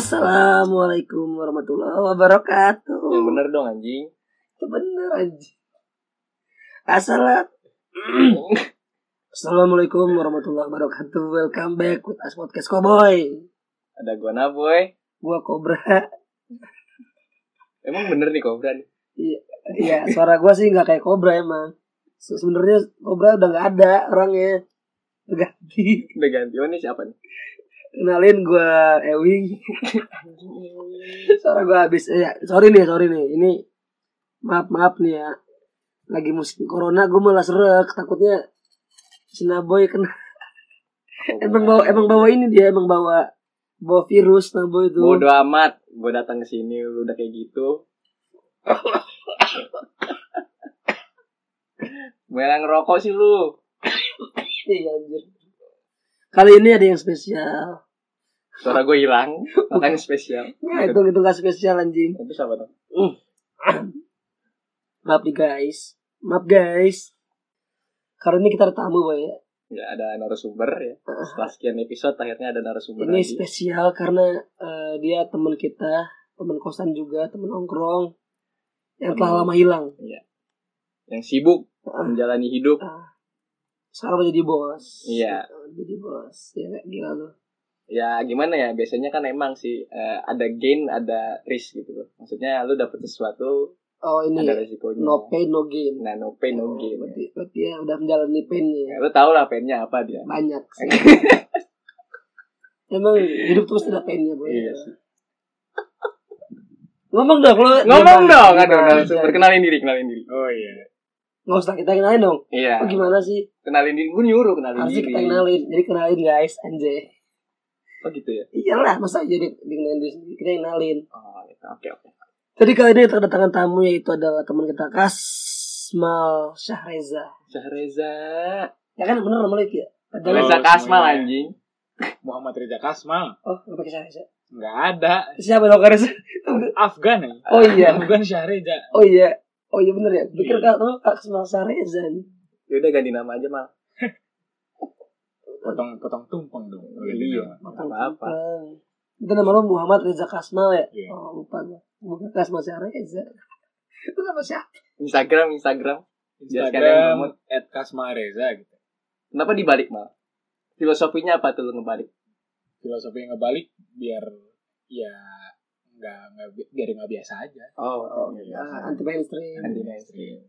Assalamualaikum warahmatullahi wabarakatuh. Yang Ya, bener dong anjing. Itu bener anjing. Assalam. Assalamualaikum warahmatullahi wabarakatuh. Welcome back with As Podcast Cowboy. Ada gua Naboy. Gua Cobra. Emang bener nih Kobra nih. Iya, suara gua sih nggak kayak Cobra emang. Se- Sebenarnya Cobra udah nggak ada orangnya. Ganti. Udah ganti oh, ini siapa nih? Kenalin gua Ewing. Suara gua habis. Eh, ya, sorry nih, sorry nih. Ini maaf maaf nih ya. Lagi musim corona gua malah serak takutnya Sinaboy kena Emang bawa emang bawa ini dia emang bawa bawa virus nabo itu. Bodo amat. Gua datang ke sini lu udah kayak gitu. Melang rokok sih lu. Iya anjir. Kali ini ada yang spesial. Suara gua hilang, makanya spesial. Nah, itu itu gak spesial anjing. Itu siapa tuh? Maaf nih guys. Maaf guys. Karena ini kita ada tamu boy ya. Ya ada narasumber ya. Setelah sekian episode akhirnya ada narasumber Uh-uh. Ini lagi. spesial karena eh, dia teman kita, teman kosan juga, teman nongkrong yang telah lama hilang. Yang sibuk Uh-uh. menjalani hidup. Sekarang udah jadi bos. Iya. Udah Jadi bos. Ya nggak? gila lu. ya gimana ya biasanya kan emang sih eh, ada gain ada risk gitu loh maksudnya lu dapet sesuatu Oh ini ada resikonya no pain Oh, no gain. nah no pain no gain Berarti, berarti ya udah menjalani painnya. ya, lu tau lah painnya apa dia banyak sih. Emang hidup terus tidak painnya boy. Iya sih. Ngomong dong lu. ngomong gimana- dong aduh gimana narasumber aja? kenalin diri kenalin diri oh iya Nggak usah kita kenalin dong. iya Oh, gimana sih? kenalin diri gue nyuruh kenalin Harusnya diri kita kenalin. Jadi kenalin guys, anjay. oh gitu ya Iyalah, masa jadi dikenalin diri sendiri? kita yang kenalin. oh gitu oke oke Jadi kali ini kedatangan tamu yaitu adalah teman kita Kasmal Syahreza. Syahreza Ya kan bener namanya ya? Padahal Reza Halo, Kasmal semuanya. anjing Muhammad Reza Kasmal oh, nggak pakai Syahreza. nggak ada Siapa dong Reza? Afgan ya Oh iya. Afgan Syahreza Oh iya. Oh iya bener ya. Pikir kalau Kasmal Syahreza nih. yaudah Ya ganti nama aja mal potong potong tumpeng dong Iya. Makan Apa-apa. tumpeng. Itu nama lo Muhammad Reza Kasmal ya? Iya. Oh, lupa gue. Bukan Kasmal siapa Reza. Itu sama siapa? Instagram Instagram Jelaskan yang Instagram at Kasmal Reza gitu kenapa dibalik mal filosofinya apa tuh lu ngebalik filosofi yang ngebalik biar ya nggak nggak bi- biar nggak biasa aja oh, Ah, anti mainstream. Anti mainstream.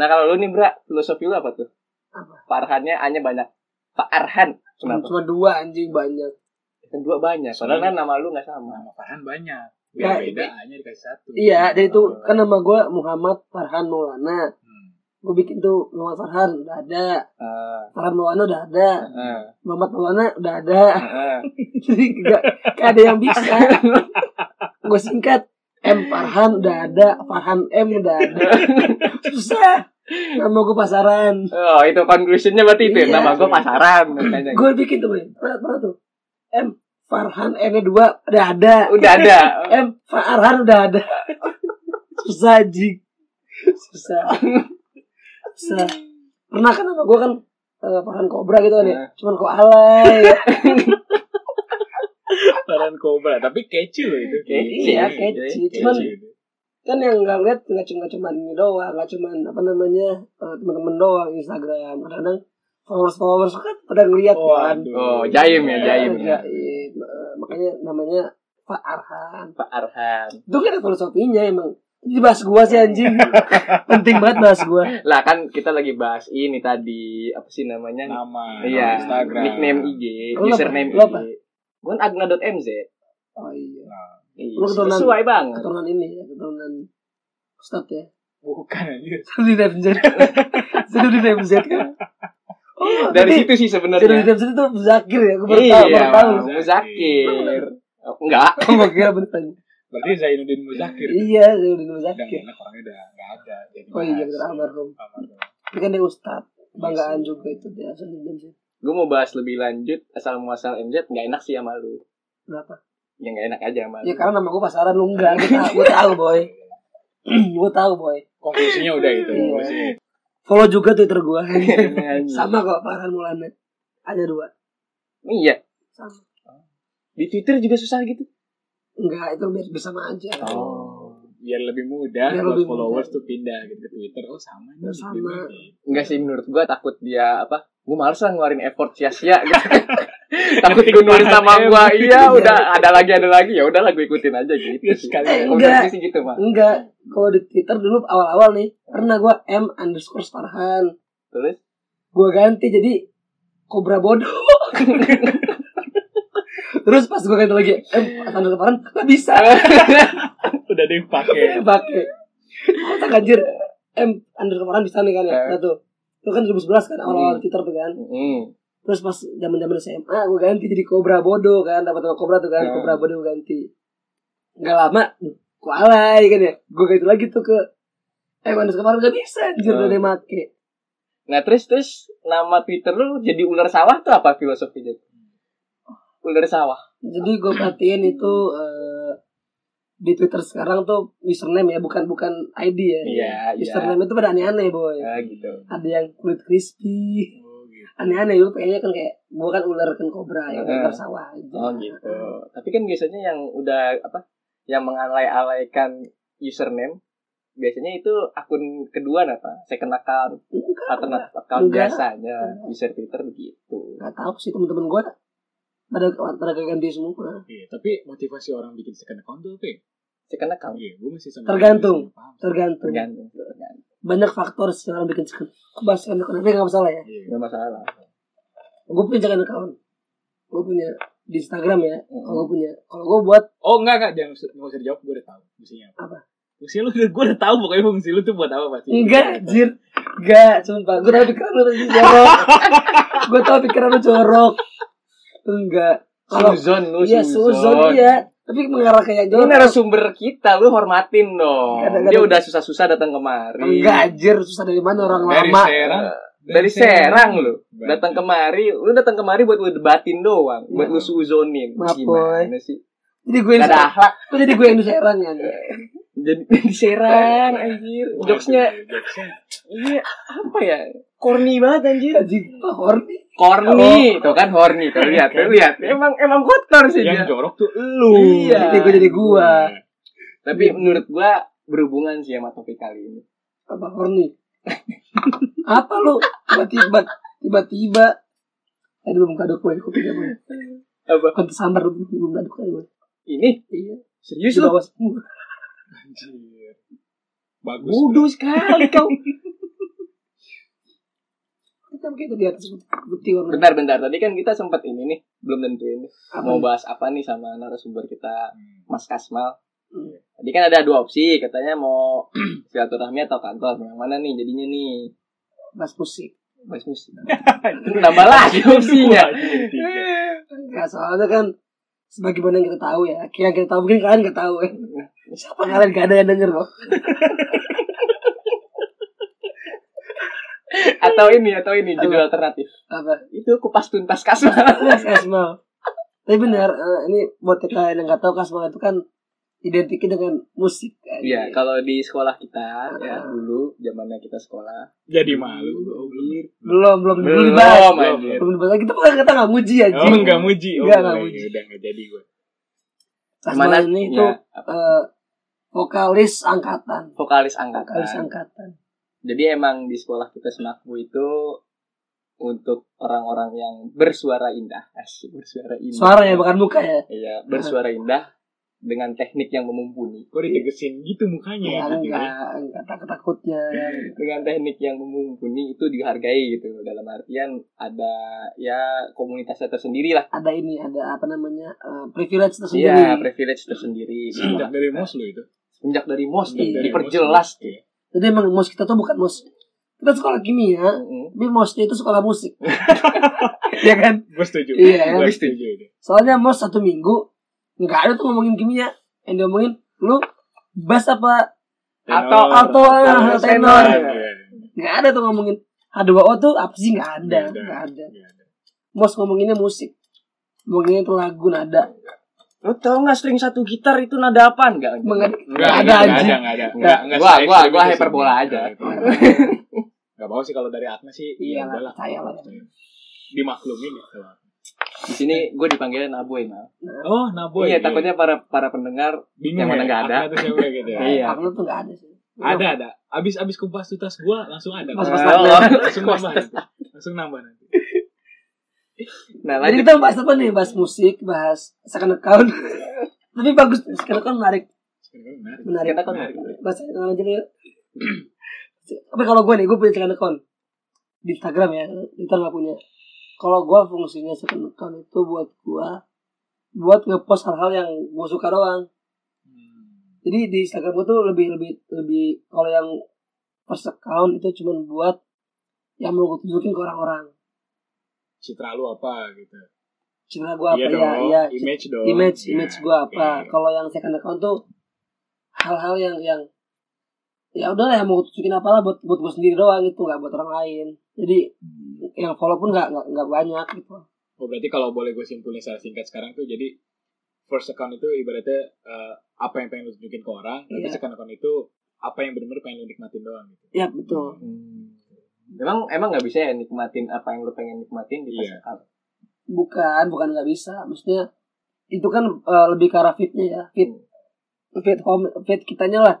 Nah kalau lu nih Bra, filosofi lu apa tuh? Apa? Pak Arhannya hanya banyak. Pak Arhan. Kenapa? Cuma dua anjing banyak. Yang dua banyak. Soalnya kan nama lu gak sama. nama Farhan banyak Ya, Nah, biar beda hanya dikasih satu Iya, dan itu Hmm. kan nama gue Muhammad Farhan Maulana. Gue bikin tuh Muhammad Farhan udah ada, Heeh. Farhan Maulana udah ada, Heeh. Muhammad Maulana udah ada. Heeh. Jadi gak, gak ada yang bisa. gue singkat M Farhan udah ada, Farhan M udah ada. Susah. Nama gue pasaran. Oh itu conclusionnya berarti itu ya. Iya. Nama gue pasaran. makanya. Gue bikin tuh, Bang. Pernah, pernah tuh. M Farhan M-nya dua udah ada. Udah ada. M Farhan udah ada. Susah anjing. Susah. Susah. Pernah kan sama gue kan eh, Farhan Kobra gitu kan ya. Nah. Cuman kok alay. Farhan Cobra tapi kecil loh itu Kecil. Iya, kecil. Cuman kan yang nggak lihat nggak cuma nggak cuma ini doang nggak cuma apa namanya eh, teman-teman doang Instagram kadang-kadang followers followers kan pada ngeliat kan Waduh. Oh, jaim ya, jaim. Eh, jaim. Eh, makanya namanya Pak Arhan Pak Arhan. itu kan ada filosofinya emang ini bahas gua sih anjing penting banget bahas gua Lah kan kita lagi bahas ini tadi. Apa sih namanya? nama Iya. Instagram Nickname IG. Lu apa? Username Lu apa? IG. Gue agna.mz. oh iya Iya, Lu keturunan- Sesuai banget. keturunan ini ya keturunan Ustadz ya bukan aja Sudah di FMZ Sudah di FMZ kan oh, Dari dari situ sih Sudah di sebenarnya. FMZ itu Zakir ya Gue baru tahu baru Iya, tahu Mas. Muzakir. Oh, Enggak. Gue kira beneran berarti Zainuddin Muzakir Iya, saya udah dulu dan sakit. enak orangnya udah nggak ada jadi Oh iya, bahas. bener almarhum. Almarhum. Itu kan dia ustad, banggaan Iya sih. juga itu dia asal dendam sih. Gue mau bahas lebih lanjut asal muasal MZ nggak enak sih sama lu. Kenapa? Ya nggak enak aja sama lu. Ya karena nama gue pasaran lu enggak, gue tahu, gue tahu boy. gue tahu boy. konklusinya udah itu Iya. Konklusi. Follow juga Twitter gue. Sama. Sama kok Farhan Maulana. Ada dua. Iya. Sama. Di Twitter juga susah gitu. Enggak, itu biar bersama aja. Oh. biar lebih mudah Biar buat lebih followers mudah. tuh pindah gitu ke Twitter oh sama nih Oh, sama. gitu. Enggak sih menurut gua takut dia apa? Gua males lah ngeluarin effort sia-sia gitu. takut gue nulis nama gua iya udah ada lagi ada lagi ya udahlah gue ikutin aja gitu Ya, sih. sekali. Eh, Komunikasi sih gitu mah Enggak, kalau di Twitter dulu awal-awal nih, pernah gua M underscore Farhan. terus Gua ganti jadi Kobra Bodoh. Terus pas gua ganti lagi M underscore Farhan, nggak bisa. udah ada yang pakai Pakai. Aku tak anjir. M underscore Farhan bisa nih kan ya. Nah tuh. Itu kan 2011 kan awal-awal Eh. Hmm. Twitter tuh kan. Mm. Terus pas zaman-zaman SMA gua ganti jadi Kobra Bodoh kan, dapat nama Kobra tuh kan, Hmm. Kobra Bodoh gua ganti. Enggak lama, gua alay kan ya. Gua ganti lagi tuh ke M underscore Farhan nggak bisa anjir Hmm. udah dia make. nah terus terus nama Twitter lu jadi ular sawah tuh apa filosofinya ular sawah jadi gue perhatiin itu eh, di Twitter sekarang tuh username ya bukan bukan ID ya iya iya username itu pada aneh-aneh boy Ah, gitu ada yang kulit crispy Oh, gitu. aneh-aneh lu pengennya kan kayak gue kan ular kan kobra ya Heeh. ular sawah aja oh gitu tapi kan biasanya yang udah apa yang mengalai-alaikan username biasanya itu akun kedua apa second account enggak enggak. alternatif account Enggak. biasanya user Twitter begitu Enggak tahu sih temen-temen gue pada pada ganti semua Iya, tapi motivasi orang bikin second account tuh apa ya? second account Iya, gue masih sama Tergantung. masih paham. tergantung tergantung tergantung banyak faktor sih orang bikin second kebahasan account tapi nggak masalah ya Iya. nggak masalah gue punya second account gue punya di Instagram ya Mm-mm. kalau gue punya kalau gue buat Oh enggak enggak jangan usah nggak usah dijawab gue udah tahu fungsinya apa. Apa? Fungsi lu gue udah tahu pokoknya fungsi lu tuh buat apa pasti. Enggak, anjir. Enggak, sumpah. Gue tau pikiran lu pasti jorok. gue tau pikiran lu jorok. Enggak. Kalau Suzon lu iya suzon iya. Tapi mengarah kayak Ini jorok. narasumber kita, lu hormatin dong. Kadang-kadang- Dia udah susah-susah datang kemari. Enggak, anjir. Susah dari mana orang Dari lama. Serang. Dari Serang lu. Banten. Datang kemari, lu datang kemari buat lu debatin doang, buat lu suzonin. Maaf, Gimana sih? Jadi gue yang Ya. Gak ada akhlak. Kok jadi gue yang di Serang ya. Jadi di Serang anjir. Waduh, Jokesnya jokesnya. iya apa ya? Corny banget anjir. Anjing, Pak Iya, horny. Corny, tuh kan horny. Tuh lihat, tuh lihat. Emang emang kotor sih Yang dia. jorok tuh lu. Iya. Jadi gue jadi gue. Tapi menurut gua berhubungan sih sama topik kali ini. Apa horny? Apa lu? Tiba-tiba. Tiba-tiba. Tadi belum kado kue. Gue pinjam. Apa? Bukan sambar. Belum belum kado kue. Ini Iya. Di serius lu? bawah semua. Anjir. Bagus. Bodoh sekali kau. Kita kita di atas putih warna. Bentar, bentar. Tadi kan kita sempat ini nih, belum tentuin. Apa Mau nih? bahas apa nih sama narasumber kita, Hmm. Mas Kasmal. Iya. Tadi kan ada dua opsi, katanya mau silaturahmi atau kantor. Yang mana nih jadinya nih? bahas musik Bahas musik. Tambah lagi opsinya. Dua, dua, ya tiga. soalnya kan sebagaimana yang kita tahu ya kayak yang kita tahu mungkin kalian nggak tahu kan Iya. siapa kalian gak ada yang denger kok atau ini, atau ini judul alternatif. apa Itu kupas tuntas Kasmal. Mas Kasmal tapi benar eh, ini buat kalian yang nggak tahu Kasmal itu kan identiknya dengan musik kan? Iya, kalau di sekolah kita ya dulu zamannya kita sekolah. Jadi malu. belum belum belum dibahas Belum, Oh, anjir. belum dibahas kita pernah kata nggak muji aja Oh, enggak muji. Oh, Enggak, enggak boleh. muji. Udah enggak jadi gue. Kasmal Mana- ini ya, itu apa, eh, vokalis angkatan vokalis angkatan. vokalis angkatan Jadi emang di sekolah kita Senakbu itu untuk orang-orang yang bersuara indah, Asik, bersuara indah. suara ya bukan muka ya Iya, bersuara indah dengan teknik yang memumpuni. Kok ditegesin gitu mukanya Ya, gitu ya. enggak, enggak takut takutnya. Dengan teknik yang memumpuni itu dihargai gitu. Dalam artian ada ya komunitasnya tersendiri lah. Ada ini, ada apa namanya eh, privilege tersendiri. Iya, privilege tersendiri. Sejak dari mos lu itu. Sejak dari mos Sejak nih, dari diperjelas Mos lu. Iya. Jadi emang mos kita tuh bukan mos kita sekolah kimia, Mm-mm. tapi mosnya itu sekolah musik. Iya kan? Gue setuju. Iya, gue gue setuju itu. Soalnya mos satu minggu nggak ada tuh ngomongin kimia, yang diomongin lu bass apa Iya. Atau- Tenor. atau tenor, eh, tenor. tenor. Iya, Nggak ada tuh ngomongin H2O tuh apa sih nggak ada, Nggak ada. nggak ada. iya, iya. Mos ngomonginnya musik. Ngomonginnya itu lagu nada. Lu tau gak string satu gitar itu nada apaan? Enggak. Mengen- Enggak Nggak ada, ada enggak ada anjing. enggak ada. Nggak, gua- gua- gua hyperbola aja. Enggak bawa sih kalau dari Atma sih. Iya ya lah, udahlah. percaya lah. Dimaklumin ya. kalau- Di sini gue dipanggilnya Naboy, Mal. Oh, naboy. iya, takutnya para para pendengar yang bingung mana ya, nggak ada. Akna tuh siapa gitu ya. Iya. Aku tuh nggak ada sih. Ada ada. Abis abis kupas tutas gua langsung ada. Pas- Mas- pas- Eh, pas- oh. langsung nambah. nanti. Langsung nambah nanti. Nah, Jadi lanjut. kita bahas apa nih? Bahas musik, bahas second account. Tapi bagus, second account menarik. Sekarang menarik. Menarik. Second account menarik. Bahas second account aja deh, yuk. Tapi kalau gue nih, gue punya second account. Di Instagram ya, Twitter nggak punya. Kalau gue fungsinya second account itu buat gue buat ngepost hal-hal yang gue suka doang. Hmm. Jadi di Instagram gue tuh lebih lebih lebih kalau yang first account itu cuma buat yang mau gue tunjukin ke orang-orang. Citra lu apa gitu. Citra gue apa iya ya, dong, ya, image dong. image Iya, image gua apa oke. kalau yang second account tuh hal-hal yang yang ya udahlah yang mau tunjukin apalah buat buat gue sendiri doang gitu nggak buat orang lain jadi Hmm. yang follow pun nggak nggak nggak banyak gitu Oh, berarti kalau boleh gue simpulin secara singkat sekarang tuh jadi first account itu ibaratnya eh, apa yang pengen lu tunjukin ke orang, tapi Iya. second account itu apa yang benar-benar pengen lu nikmatin doang gitu. ya betul Hmm. Emang emang nggak bisa ya nikmatin apa yang lu pengen nikmatin di Iya. pas bukan bukan nggak bisa maksudnya itu kan eh, lebih ke arah fitnya ya fit fit home fit kitanya lah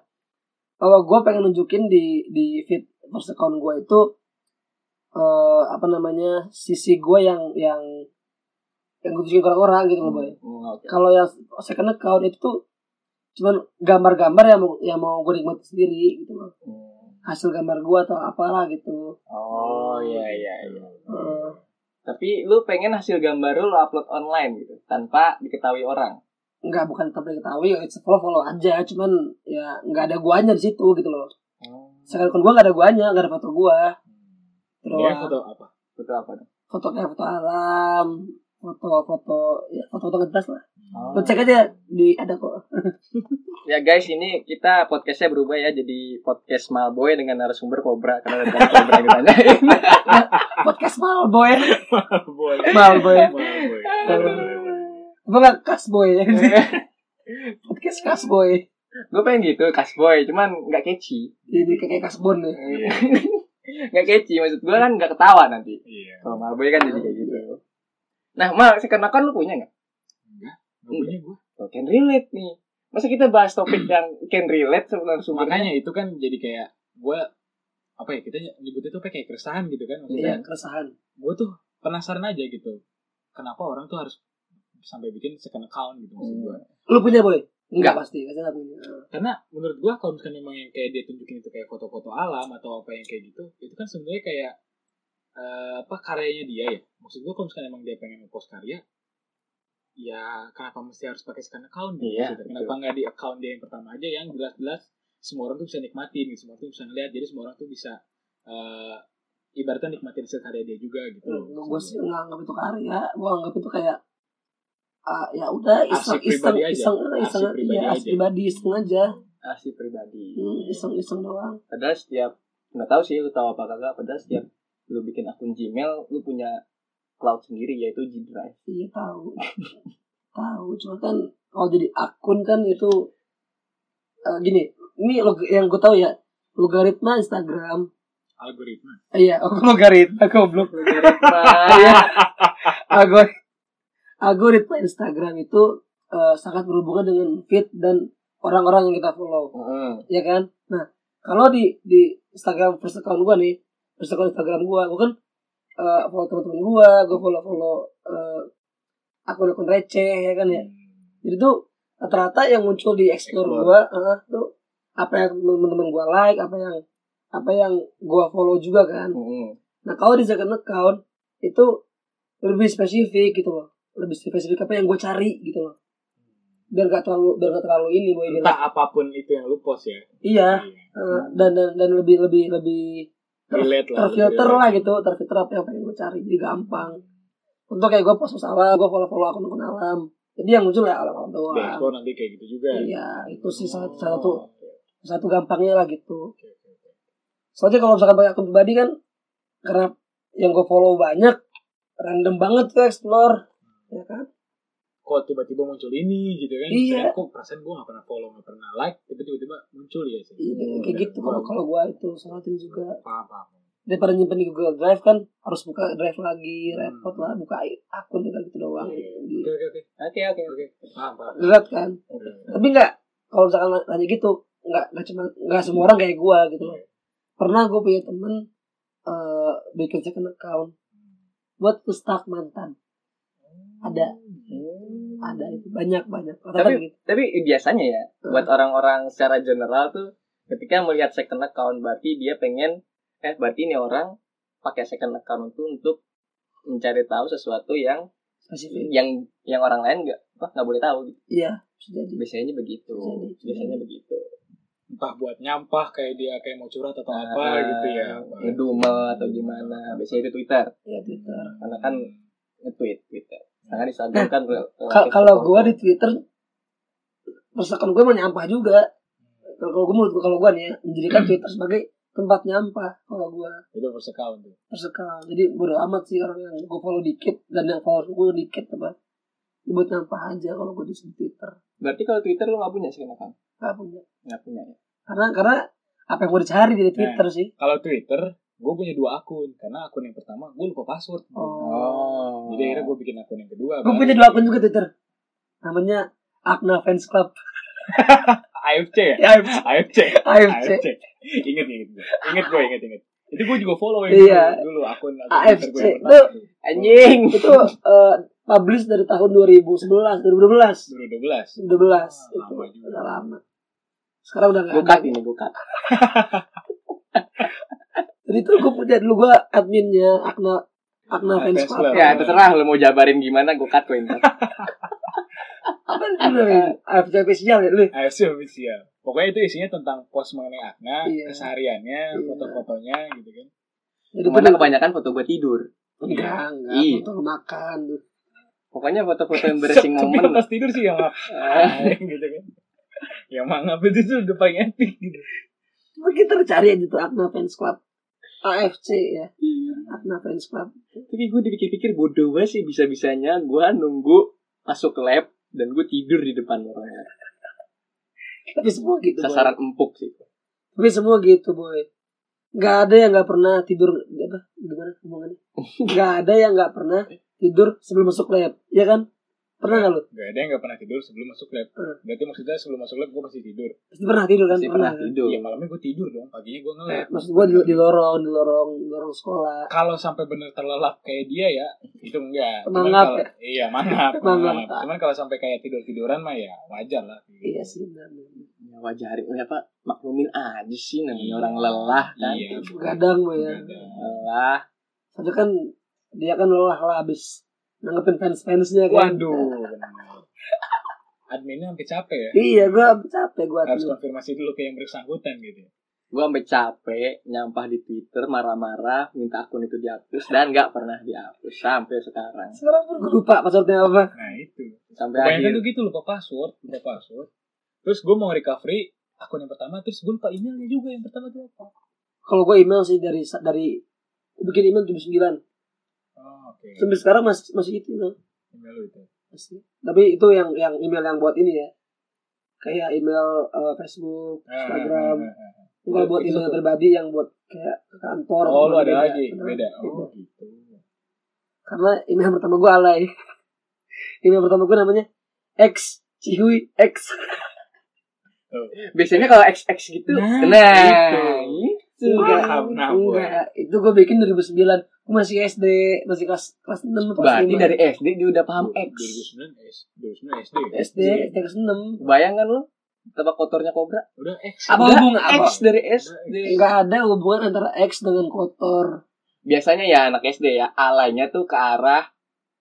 kalau gue pengen nunjukin di di fit first account gue itu eh apa namanya sisi gue yang yang yang gue tunjukin ke orang gitu loh boy Hmm, oke. kalau yang second account itu tuh cuman gambar-gambar yang mau yang mau gue nikmati sendiri gitu loh Hmm. hasil gambar gue atau apalah gitu Oh iya iya iya. Eh, Tapi lu pengen hasil gambar lu, lu upload online gitu tanpa diketahui orang. nggak bukan tetap diketahui ya follow follow aja cuman ya nggak ada guanya di situ gitu loh Oh, second account gue nggak ada guanya nggak ada foto gue terus Dia Iya, foto apa? Itu apa? tuh? foto kayak foto alam foto-foto ya foto-foto nggak jelas lah Oh. lo cek aja di ada kok Ya guys, ini kita podcastnya berubah ya jadi podcast Malboy dengan narasumber Cobra karena ada Cobra yang ditanyain. podcast malboy Boy. malboy Iya, Boy. gue nggak kasboy podcast kasboy Gue pengen gitu, kasboy, cuman nggak catchy. jadi kayak kasbon ya Nggak catchy, maksud gue kan nggak ketawa nanti. Iya. Kalau Malboy kan jadi kayak gitu. Nah, Mal, second account lu punya nggak? Nggak punya gua. Oh, Can relate nih. Masa kita bahas topik yang can relate sebenarnya sumbernya? Makanya itu kan jadi kayak gua apa ya kita nyebutnya tuh kayak keresahan gitu kan maksudnya iya keresahan gue tuh penasaran aja gitu kenapa orang tuh harus sampai bikin second account gitu maksud gue lu Iya. punya boy Nggak. Enggak pasti, pasti nggak punya. karena menurut gue kalau misalkan memang yang kayak dia tunjukin itu kayak foto-foto alam atau apa yang kayak gitu itu kan sebenarnya kayak eh, apa karyanya dia ya maksud gue kalau misalkan emang dia pengen ngepost karya ya kenapa mesti harus pakai second account gitu Iya, maksudnya? kenapa nggak di account dia yang pertama aja yang jelas-jelas semua orang tuh bisa nikmatin gitu. semua orang tuh bisa ngeliat jadi semua orang tuh bisa eh, ibaratnya nikmatin hasil karya dia juga gitu loh. Gue sih nggak anggap itu karya, gue anggap itu kayak ah, ya udah iseng Arsip iseng pribadi aja. iseng iseng Arsip pribadi iya, aja. arsip pribadi iseng aja Asli pribadi. Hmm, iseng iseng doang Padahal setiap nggak tahu sih lu tahu apa kagak. Padahal setiap lu bikin akun Gmail, lu punya cloud sendiri yaitu G Drive. iya tahu tahu cuma kan kalau jadi akun kan itu eh, gini ini log- yang gue tahu ya logaritma Instagram algoritma Eh, iya logaritma goblok Logaritma. Algor- algoritma Instagram itu eh, sangat berhubungan dengan feed dan orang-orang yang kita follow, Heeh. ya kan? Nah, kalau di di Instagram first account gua nih, first account Instagram gua, gua kan eh, follow teman-teman gua, gua follow-follow eh, akun-akun receh ya kan ya. Jadi tuh rata-rata yang muncul di explore Hmm. Explore. gua eh, tuh apa yang teman-teman gua like, apa yang apa yang gua follow juga kan. Heeh. Nah kalau di second account itu lebih spesifik gitu loh, lebih spesifik apa yang gue cari gitu loh. Biar gak terlalu biar gak terlalu ini boy. biar- entah apapun itu yang lu post ya Iya. eh, dan dan dan lebih lebih lebih relate lah terfilter relate. lah gitu, terfilter apa yang pengen gue cari jadi gampang. Untuk kayak gue post post alam, gue follow follow akun akun alam. Jadi yang muncul ya alam alam di doang. explore nanti kayak gitu juga Iya, itu sih salah Oh. satu satu gampangnya lah gitu. Oke, oke, oke. Soalnya kalau misalkan pakai akun pribadi kan karena yang gue follow banyak random banget tuh explore ya kan kok tiba-tiba muncul ini gitu kan Iya. Saya, kok perasaan gue gak pernah follow gak pernah like tapi tiba-tiba muncul ya sih Iya, kayak Hmm, gitu kalau gua- kalau gua itu salatin juga paham paham daripada nyimpen di Google Drive kan harus buka Drive lagi repot lah buka i- akun tinggal gitu doang Oke oke oke. Oke oke oke. Paham paham. berat kan tapi nggak kalau misalkan nanya gitu nggak nggak cuma nggak semua orang kayak gua gitu loh pernah gua punya temen eh bikin second account buat pustak mantan Hmm. ada ada itu banyak banyak Rata-rata Tapi- gitu. Tapi biasanya ya Hmm. buat orang-orang secara general tuh ketika melihat second account berarti dia pengen eh berarti ini orang pakai second account itu untuk mencari tahu sesuatu yang spesifik yang yang orang lain nggak apa nggak boleh tahu gitu. iya bisa jadi biasanya begitu Jadi- biasanya begitu Entah buat nyampah kayak dia kayak mau curhat atau Nah, apa Ah, gitu ya. ngedumel atau gimana biasanya itu Twitter ya Twitter karena kan Hmm. nge-tweet Twitter karena di Instagram kan rel- Ka- relatif kalau foto. gua di Twitter persakan gue mau nyampah juga kalau kalau gue menurut gua- kalau gue nih ya, menjadikan Twitter sebagai tempat nyampah kalau gue Itu first account tuh. tersekal jadi bodo amat sih orang yang gue follow dikit dan yang follow gue dikit apa buat nyampah aja kalau gue di Twitter berarti kalau Twitter lu nggak punya sih kenapa nggak punya nggak punya ya karena karena apa yang gue dicari di Twitter sih Kalau Twitter, gue punya dua akun karena akun yang pertama gue lupa password. oh, Jadi akhirnya gue bikin akun yang kedua. gue punya dua akun juga Twitter namanya Akna Fans Club AFC ya? ya AFC AFC. AFC AFC. Ingat ingat gue. Ingat gue ingat ingat. Itu gue juga follow yang Iya. dulu dulu akun akun AFC. Twitter gue yang pertama tuh. anjing itu eh, publish dari tahun 2011 2012 12 itu 2012. lama juga. udah lama sekarang udah nggak ada bukat ini bukat jadi itu gue punya dulu gue adminnya Akna Akna Akna Fans Fans Club Club. ya terserah lu mau jabarin gimana gue cut gue ntar. apa itu namanya AFC official ya lu AFC official. Pokoknya itu isinya tentang post mengenai Akna, Iya. kesehariannya, Iya. foto-fotonya gitu kan. jadi Dimana gue kebanyakan foto gue tidur enggak enggak Iya. foto lu makan pokoknya foto-foto embarrassing Tapi moment lepas tidur sih yang ngap. Ah. gitu kan. Yang mangap itu tuh udah paling epic gitu. Coba kita cari aja tuh Akna Fans Club AFC ya Akna Fans Club tapi gue dipikir-pikir bodoh banget sih bisa-bisanya gue nunggu masuk ke lab dan gue tidur di depan orang lain. tapi semua gitu boy. sasaran empuk sih tapi semua gitu boy nggak ada yang nggak pernah tidur apa gimana hubungannya nggak ada yang nggak pernah tidur sebelum masuk lab ya kan pernah nggak lu Gak ada yang gak pernah tidur sebelum masuk lab. Hmm. Berarti maksudnya sebelum masuk lab gue masih tidur. pasti pernah tidur kan pasti pernah kan? tidur Iya malamnya gue tidur dong. Paginya gue ngelab. maksud gua di, di lorong di lorong di lorong sekolah Kalau sampai bener terlelap kayak dia ya, itu enggak. Cuman Mangap kalau- ya? Iya mangap. Mangap. mangap. Cuman kalau sampai kayak tidur tiduran mah ya wajar lah. iya sih benar ya wajarin ya pak maklumin aja sih namanya orang lelah kan Iya. gadang boy ya Begadang. lelah soalnya kan dia kan lelah lah abis nanggepin fans fansnya kan Waduh. bener. Adminnya sampai capek ya. iya gua capek gua Harus tuh. konfirmasi dulu ke yang bersangkutan gitu. gue sampai capek nyampah di twitter marah-marah minta akun itu dihapus dan nggak pernah dihapus sampai sekarang sekarang pun gua lupa passwordnya apa Nah itu. sampai Kebanyakan akhir tuh gitu lupa password, lupa password. Terus gue mau recovery akun yang pertama, terus gue lupa emailnya juga yang pertama tuh apa? kalau gua email sih dari dari bikin email jam sembilan Oh, oke. sampai sekarang masih masih itu email Email lu itu. masih tapi itu yang yang email yang buat ini ya kayak email eh, Facebook Instagram Ah, ah, ah, ah. Enggak buat Itu email satu. pribadi yang buat kayak ke kantor Oh, atau lu ada beda. lagi, beda. Oh, gitu. karena email pertama gue alay email pertama gue namanya X Cihui X biasanya kalau xx gitu Nah, nah, gitu. Paham, nah, boy. enggak itu gue bikin 2009 gue masih SD masih kelas kelas enam atau kelas berarti lima. dari sd dia udah paham x 2009 S, 2009 SD. ya? SD SD kelas enam bayangkan lo tebak kotornya kobra Udah X. Apa Udah hubungan- apa? x dari sd enggak ada hubungan antara X dengan kotor biasanya ya anak SD ya alainya tuh ke arah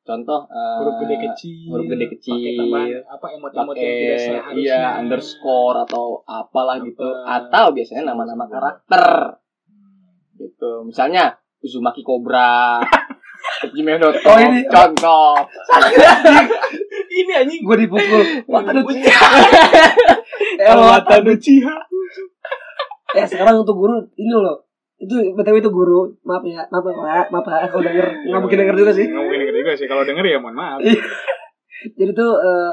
contoh eh, Huruf gede kecil. huruf gede kecil. Pakai tambahan apa emot-emot yang tidak pakai seharusnya. iya underscore atau apalah gitu Apa. atau biasanya nama-nama karakter gitu misalnya Uzumaki Cobra gmail.com Oh, ini. contoh Ini anjing. gue dipukul Elwata Uchiha. eh sekarang untuk guru ini loh itu btw itu guru maaf ya maaf ya maaf ya kalau denger nggak mungkin denger juga sih Nggak mungkin denger juga sih. Kalau denger ya mohon maaf. jadi tuh eh,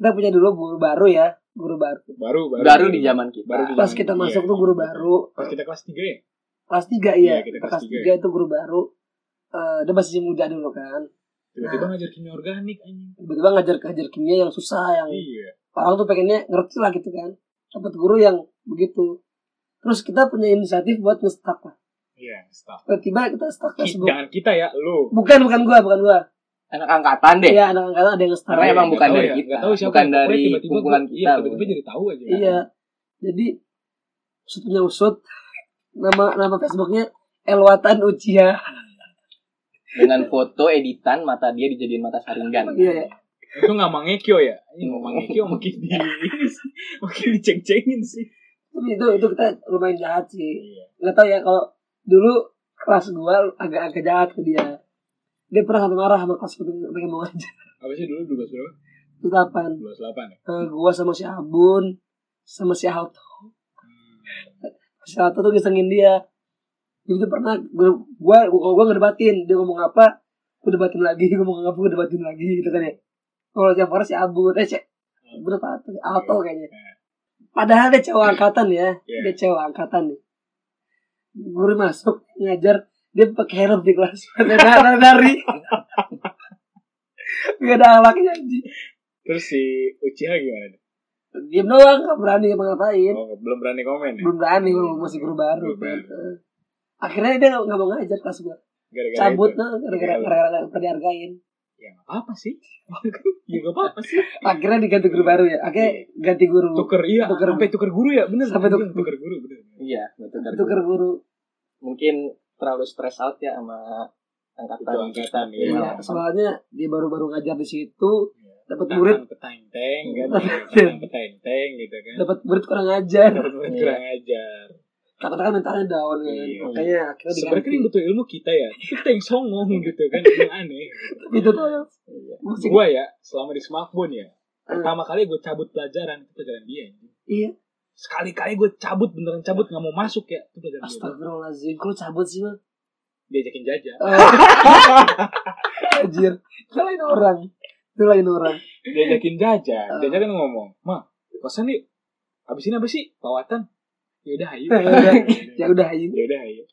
kita punya dulu guru baru ya guru baru Baru, baru. baru di zaman kita Baru di- pas kita Iya. masuk tuh guru baru Pas kita kelas 3 ya? kelas 3 iya. Iya, kita kelas kelas 3 tiga, itu guru baru. Eh dia masih muda dulu kan. tiba-tiba ngajar kimia organik anjing Tiba-tiba ngajar ngajar kimia yang susah yang iya orang tuh pengennya ngerti lah gitu kan. Dapat guru yang begitu. Terus kita punya inisiatif buat nge-stuck lah. iya staff Tiba-tiba kita stuck Facebook. jangan kita ya lu Bukan bukan gua, bukan gua. anak angkatan deh Iya, anak angkatan ada yang nge-stuck. Karena emang bukan dari kita, Gak tahu siapa bukan yang- pokoknya dari tiba-tiba gua- kumpulan iya, kita, tiba-tiba pokoknya. jadi tahu aja Iya. Jadi usut punya usut nama nama Facebooknya Elwatan Ucia. dengan foto editan mata dia dijadiin mata saringan. Iya ya. itu nggak mangekyo ya ini mau mangekyo makin di makin diceng-cengin sih Tapi itu itu kita lumayan jahat sih. iya Nggak tahu ya kalau dulu kelas gua agak-agak jahat ke dia. Dia pernah sampai marah sama kelas gua pengen mau ngajar. apa sih dulu dua belas berapa Terus apaan? dua belas delapan ya Eh, gua sama si Abun sama si Alto. Si Alto tuh ngisengin dia. Jadi tuh pernah gua gua kalau gua ngedebatin dia ngomong apa, gua debatin lagi, gua ngomong apa, gua debatin lagi gitu kan ya. Kalau yang parah si Abun, eh si Abun apa Alto, Alto kayaknya. Padahal dia cewek angkatan ya, Iya. dia cewek angkatan nih. Guru masuk ngajar dia pakai helm di kelas, pakai dari dari. Gak ada alaknya anjing. terus si Uchiha gimana Diam doang, gak berani ngapa-ngapain. oh, belum berani komen ya belum berani belum masih guru baru Belum kan. berani. Eh, akhirnya dia nggak nggak mau ngajar kelas gue gara-gara cabut Ya, itu Iya. nah gara-gara gara-gara nggak pernah dihargain ya nggak apa-apa sih ya nggak apa-apa sih akhirnya diganti guru baru ya akhirnya ganti guru Iya. tuker iya Tuker. sampai tuker guru ya bener Sampai tuker- Iya, tuker guru bener Iya, betul kan. tuker guru Mungkin terlalu stress out ya sama Itu angkatan angkatan, kita. iya. Iya. Iya, soalnya dia baru-baru ngajar di situ dapat Tangan murid Nah, peteng-teng kan Peteng. Tangan peteng-teng gitu kan dapat murid kurang ngajar Dapat murid Iya. kurang ajar takutnya kan mentalnya down kan Iya. makanya akhirnya sebenarnya diganti Iya. kan yang butuh ilmu kita ya tapi kita yang songong gitu kan yang aneh Tapi itu tuh Iya. musik gue ya selama di smartphone ya Hmm. pertama kali gue cabut pelajaran itu pelajaran dia iya sekali-kali gue cabut beneran cabut nggak mau masuk ya itu pelajaran dia astagfirullahaladzim kalau cabut sih mah diajakin jajan Eh, anjir itu lain orang itu lain orang diajakin jajan Oh. Hmm. jajan kan ngomong ma kosan yuk abis ini apa sih pawatan ya udah ayo Ya udah. ya udah ayo ya udah ayo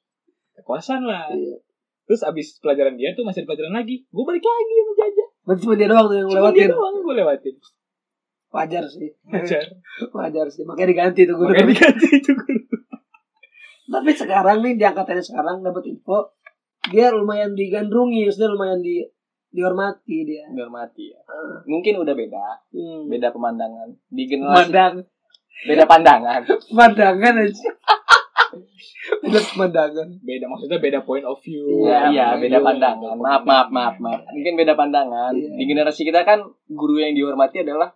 Ke kosan lah Iya. terus abis pelajaran dia tuh masih ada pelajaran lagi gue balik lagi sama jajan Berarti cuma dia doang tuh yang cuma dia lewatin. doang gue lewatin Wajar sih. ajar Wajar sih. Makanya diganti tuh guru. makanya diganti itu guru Tapi sekarang nih diangkatannya sekarang dapat info dia lumayan digandrungi, maksudnya lumayan di dihormati dia. Udah mati ya. Mungkin udah beda, Hmm. beda pemandangan. Di generasi Pandang, beda pandangan. pandangan aja. Udah pemandangan. beda maksudnya beda point of view Iya, iya, beda Iya, pandangan. beda Maaf, maaf, maaf, maaf. Mungkin beda pandangan. Iya. Di generasi kita kan guru yang dihormati adalah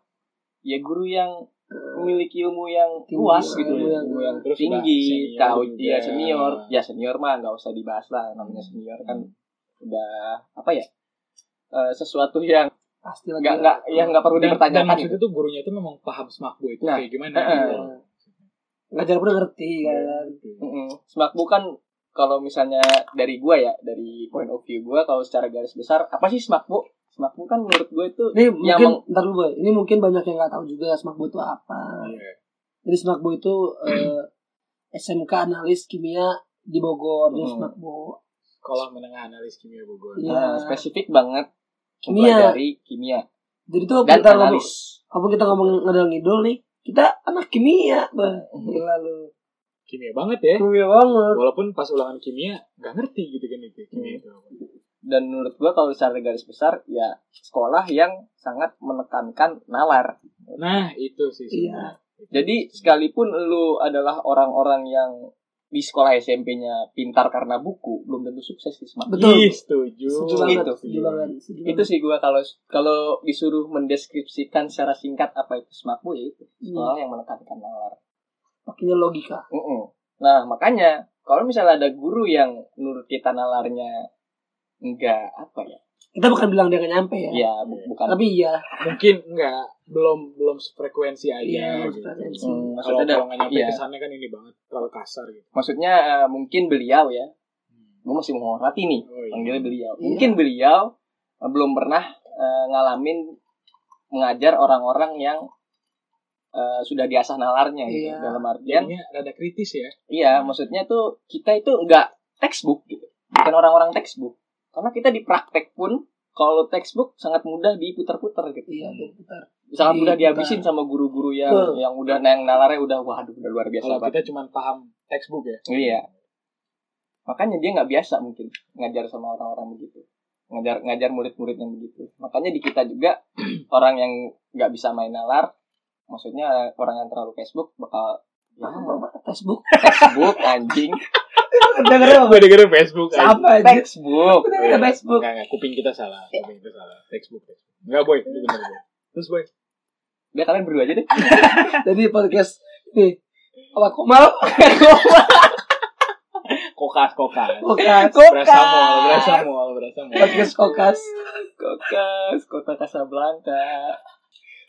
ya guru yang memiliki ilmu yang Tinggi, luas gitu ilmu ya. yang- Ilmu yang iya, terus tinggi, udah tahu senior dia juga. senior. Ya senior mah nggak usah dibahas lah namanya senior kan Hmm. udah apa ya? eh, sesuatu yang Pasti lagi. nggak nggak yang nggak perlu Hmm. dan, dan dipertanyakan gitu. maksudnya tuh gurunya tuh memang paham smak itu Nah, kayak gimana eh, gitu. Nah, Ngajar pun ngerti kan. Mm-mm. Smakbu kan kalau misalnya dari gua ya, dari point of view gua kalau secara garis besar apa sih smakbu? Smakbu kan menurut gua itu Ini Yang mungkin ntar dulu Boy. Ini mungkin banyak yang nggak tahu juga smakbo itu apa. Iya. Jadi Smakbo itu eh, SMK analis kimia di Bogor, di Hmm. Smakbo. sekolah menengah analis kimia Bogor Iya. Nah, spesifik banget Kimia. mempelajari kimia Jadi tuh dan kita ngomong, analis. apa kita ngomong ngedal ngidul nih, kita anak kimia, bah. Mhm. Gila lu. kimia banget ya Kimia banget. walaupun pas ulangan kimia nggak ngerti gitu kan itu kimia Hmm. itu apa. Dan menurut gua kalau secara garis besar ya sekolah yang sangat menekankan nalar. nah itu sih Iya. sebenarnya. Jadi sekalipun lu adalah orang-orang yang di sekolah SMP-nya pintar karena buku, belum tentu sukses di Smakbu. Betul. Ih, setuju Setuju banget, Gitu. setuju banget. setuju Itu sih gua kalau kalau disuruh mendeskripsikan secara singkat apa itu Smakbu ya banget. itu. Hmm, sekolah yang menekankan nalar. Pakainya logika. Mm-mm. Nah makanya kalau misalnya ada guru yang menurut kita nalarnya enggak apa ya, Kita bukan bilang dia nggak nyampe ya. ya bu- bukan. Tapi iya, mungkin nggak belum belum sefrekuensi aja Iya, gitu. frekuensi. Hmm, kalau maksudnya, ada- kalau nggak nyampe iya. kesannya kan ini banget terlalu kasar gitu maksudnya eh, mungkin beliau ya, gue masih menghormati nih, oh, panggilnya beliau. Iya. Mungkin beliau eh, belum pernah eh, ngalamin mengajar orang-orang yang eh, sudah diasah nalarnya gitu Iya. dalam artian Jadinya rada kritis ya. Iya, maksudnya tuh kita itu nggak textbook gitu. Bukan orang-orang textbook. Karena kita di praktek pun kalau textbook sangat mudah diputar-putar gitu. Iya, bentar. Sangat mudah Iya. dihabisin sama guru-guru yang Betul. yang udah yang nalarnya udah waduh udah luar biasa Kalau banget. kita cuma paham textbook ya. Iya. Makanya dia nggak biasa mungkin ngajar sama orang-orang begitu. Ngajar ngajar murid-murid yang begitu. Makanya di kita juga orang yang nggak bisa main nalar, maksudnya orang yang terlalu Facebook bakal ya, Ah. Facebook. Facebook anjing Dengar Gue dengerin Facebook. Sama aja. textbook. Bener, ada Facebook. Iya. Enggak, enggak, kuping kita salah, kuping kita salah. Textbook, textbook. Enggak, boy, itu benar, boy. Terus, boy. Udah kalian berdua aja deh. Jadi podcast ini apa Komal? Kokas, kokas. Kokas. Berasamol, berasamol, berasamol. Podcast Kokas. Kokas, kota Casablanca.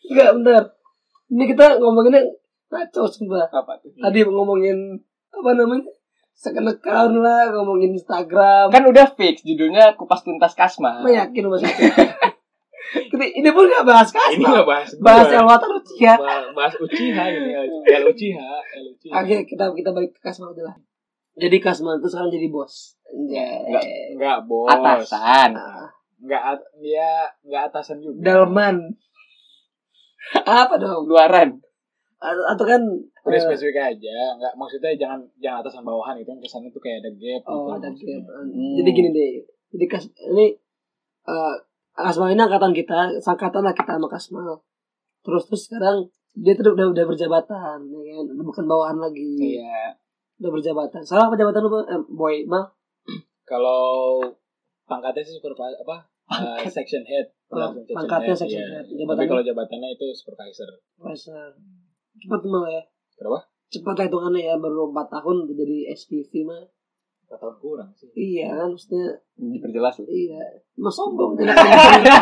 Enggak bener. Ini kita ngomonginnya ngaco sumpah. Apa tuh? Tadi ngomongin apa namanya? Second account lah, ngomongin Instagram. Kan udah fix judulnya kupas tuntas Kasma. Apa yakin mas? Tapi ini pun gak bahas Ini kasma. enggak bahas Iya. gua. Bahas Elwata Lucia. Ba- bahas Uchiha ini, El Uchiha, El Uchiha. Oke, kita kita balik ke Kasma aja lah. Jadi Kasma itu sekarang jadi bos. Anjay. Enggak, bos. Atasan. Ah, Enggak, at- ya, enggak atasan juga. Dalman. Apa dong? Luaran. A- Atau kan Udah eh, spesifik aja, enggak maksudnya jangan jangan atasan bawahan itu kan kesannya tuh kayak ada gap gitu. oh, ada maksudnya. gap. Jadi gini deh. Jadi Kas ini eh Kasma ini angkatan kita, sangkatan lah kita sama Kasma. Terus terus sekarang dia tuh udah udah berjabatan, ya kan? bukan bawahan lagi. Iya. Udah berjabatan. Salah apa jabatan lu, Bang? Eh, boy, Bang? Kalau pangkatnya sih supervisor apa? Eh, section head. Langsung section Oh, Pangkatnya head, section iya. head. Tapi kalau Jabatannya jabatannya itu supervisor. profesor. Cepat malah ya. Kenapa? Cepat lah hitungannya ya baru 4 tahun udah jadi SPV mah. Empat tahun kurang sih. Iya kan maksudnya Diperjelas. lu. iya. Emang sombong dia anak anjing.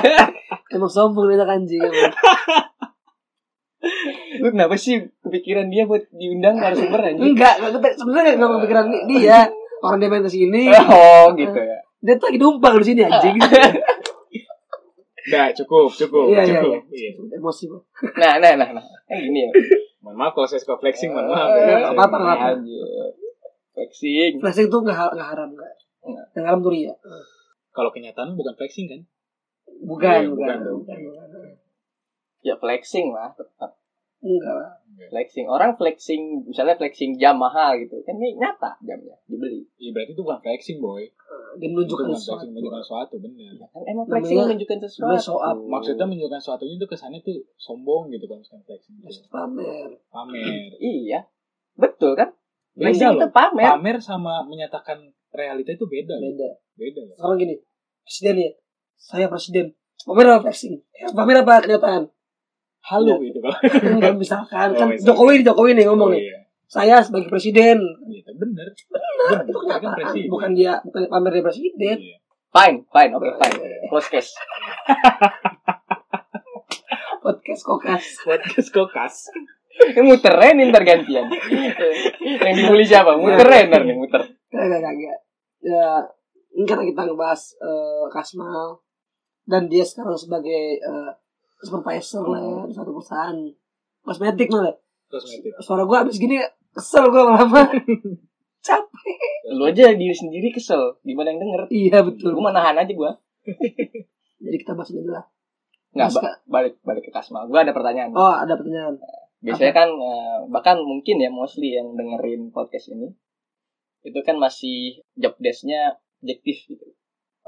Emang sombong dia anak anjing emang. Lu kenapa sih kepikiran dia buat diundang narasumber anjing? Enggak, enggak kita- sebenarnya enggak kepikiran di- dia. Orang dia main ke sini, Oh gitu ya. dia tuh lagi numpang di sini anjing. Nah, cukup, cukup, Iya, iya, cukup. Iya. Emosi Bang. Nah, nah, nah, nah. Kan gini ya. Mohon maaf kalau saya suka flexing, mohon maaf. Eh, ya. nggak apa-apa, nggak apa-apa. Anjir. Flexing. Flashing tuh enggak enggak haram enggak. Enggak. Yang haram tuh ria. Kalau kenyataan bukan flexing kan? Bukan, Iya, bukan, bukan, bukan, bukan. Ya flexing lah tetap. Enggak lah. Flexing. Orang flexing misalnya flexing jam mahal gitu. Kan ini nyata jamnya dibeli. Iya berarti itu bukan flexing, boy. Dia Itu menunjukkan bukan sesuatu. Oh. flexing, menunjukkan sesuatu, bener. Ya kan emang flexing Namanya- menunjukkan sesuatu. namanya show up. Maksudnya menunjukkan sesuatunya itu kesannya tuh sombong gitu kalau misalkan flexing. Maksud pamer. Pamer. Iya. Betul kan? Beda Flexing loh. itu pamer. Pamer sama menyatakan realita itu beda, loh. Beda. beda. loh. sekarang gini presiden ya saya presiden pamer apa flexing Eh, pamer apa kenyataan Halu itu Iya, gitu kalau enggak misalkan kan Oh, misalkan. Jokowi Jokowi nih ngomong Oh, nih iya. saya sebagai presiden Iya, bener. itu Bener, kan kenyataan presiden. bukan dia bukan pamer dia presiden Iya. Fine, fine, oke, fine. Close case. podcast kokas Podcast kokas. Ini muterin ini ntar gantian. yang dibully siapa? Muterin ntar nih, muter. kagak kagak ya ini karena kita ngebahas eh, Kasmal dan dia sekarang sebagai eh, supervisor lah ya di satu perusahaan kosmetik lah Kosmetik. suara gue abis gini kesel gue lama capek Lu aja diri sendiri kesel. Gimana yang denger? iya betul Gue menahan aja gue. jadi kita bahas ini dulu lah Nggak, Mas, ba- balik balik ke Kasma. Gue ada pertanyaan. Oh, ada pertanyaan. Biasanya kan, eh, bahkan mungkin ya mostly yang dengerin podcast ini, itu kan masih job desk-nya objektif gitu.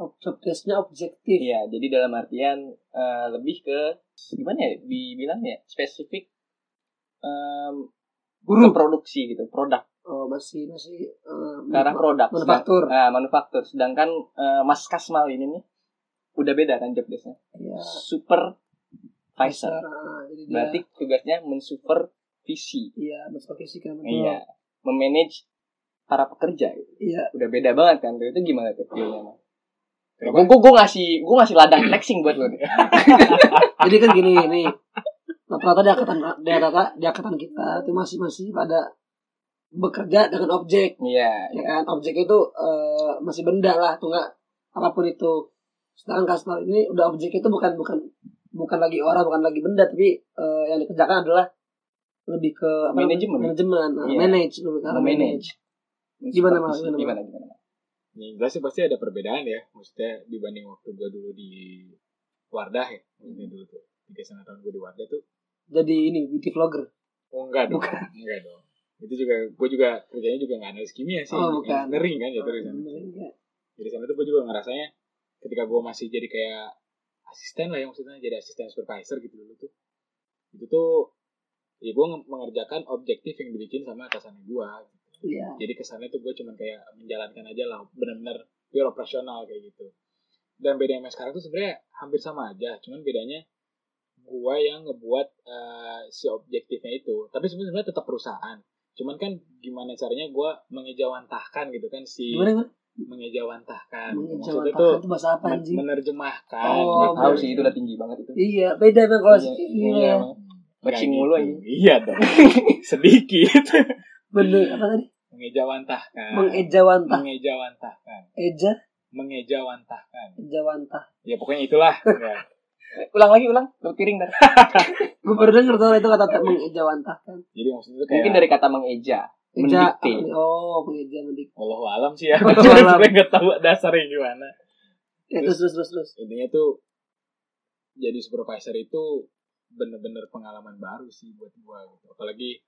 Objektifnya objektif. Iya, jadi dalam artian eh, lebih ke gimana ya dibilangnya spesifik em, ke produksi gitu, produk Oh, masih masih eh, ke arah produk. manufaktur. Sedang- ah, manufaktur. Sedangkan eh, Mas Kasmal ini nih udah beda kan job desk-nya. Iya. Supervisor. Ah, jadi dia- Berarti tugasnya mensupervisi. iya, mensupervisi kan betul. Iya, memanage para pekerja gitu. Iya. Udah beda banget kan. Itu gimana tuh feelnya? Gue gue ngasih gue ngasih ladang flexing buat lo deh. Jadi kan gini nih. Rata-rata di angkatan di rata di angkatan kita itu masih masih pada bekerja dengan objek, Iya. ya kan? Objek itu eh, masih benda lah, atau enggak apapun itu. Sedangkan kasmal ini udah objek itu bukan bukan bukan lagi orang, bukan lagi benda, tapi eh, yang dikerjakan adalah lebih ke apa Manajemen. namanya? manajemen nah, Iya. manage lebih ke arah Memanage. manage Gimana, Mas? Supervisi. Gimana, gimana gimana yang jelas sih pasti ada perbedaan ya maksudnya dibanding waktu gue dulu di Wardah ya maksudnya dulu tuh tiga setengah tahun gue di Wardah tuh jadi ini beauty vlogger oh enggak dong enggak dong itu juga gue juga kerjanya juga nggak analis kimia sih Oh, bukan. engineering kan jatuh di sana Iya. jadi sana tuh gue juga ngerasanya ketika gue masih jadi kayak asisten lah ya maksudnya jadi asisten supervisor gitu dulu tuh itu tuh ya gue mengerjakan objektif yang dibikin sama atasan gue iya jadi kesannya tuh gue cuman kayak menjalankan aja lah benar-benar pure operasional kayak gitu dan bedanya sama sekarang tuh sebenarnya hampir sama aja cuman bedanya gue yang ngebuat eh, si objektifnya itu tapi sebenarnya tetap perusahaan cuman kan gimana caranya gue mengejawantahkan gitu kan si gimana gimana mengejawantahkan maksudnya mengejawantahkan tuh itu bahasa apa men- anjing menerjemahkan Oh, Nggak tahu bener. sih itu udah tinggi banget itu iya beda dong kalau Iya, iya. iya Matching gitu. mulu aja. Iya dong. Sedikit. bener apa tadi Iya. Mengejawantahkan. mengejawantah Mengejawantahkan. eja Mengejawantahkan. ejawantah Ya pokoknya itulah. Ya. Eh, ulang lagi ulang lu piring dah Iya. gue baru denger tuh itu kata mengejawantahkan Jadi maksudnya itu kayak mungkin dari kata mengeja eja Mendikte. oh mengeja mendikte Wallahu alam sih ya. Wallahu Gue alam. sebenarnya nggak tahu dasarnya gimana. ya, terus terus terus terus Intinya tuh jadi supervisor itu bener-bener pengalaman baru sih buat gua gitu. Apalagi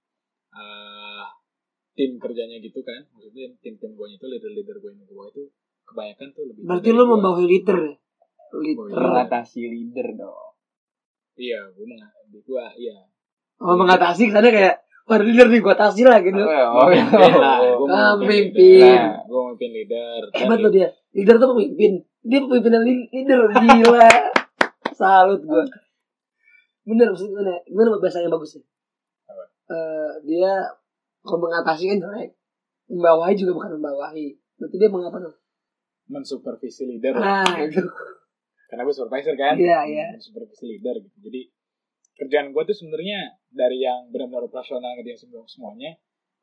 eh tim kerjanya gitu kan. Maksudnya tim-tim gua itu leader-leader gua yang di bawah itu kebanyakan tuh lebih berarti dari lu gua. membawahi liter ya liter Membawahi. mengatasi leader dong Iya, gue mengalami gue iya. oh mengatasi sana kayak wah leader nih gue atasi lah gitu iya. oh, Memimpin lah, gue Ah, memimpin. memimpin. Gue memimpin leader. Dan hebat loh dia leader tuh pemimpin dia pemimpin dan li- leader gila salut gue bener maksudnya gimana gimana bahasa yang bagus sih Apa? Eh, dia kalau mengatasi kan jelek membawahi juga bukan membawahi berarti dia mengapa dong mensupervisi leader. ah itu Karena gue supervisor kan. Iya, iya. Mensupervisi leader gitu. Jadi kerjaan gue tuh sebenarnya dari yang benar-benar operasional ngerjain semua semuanya.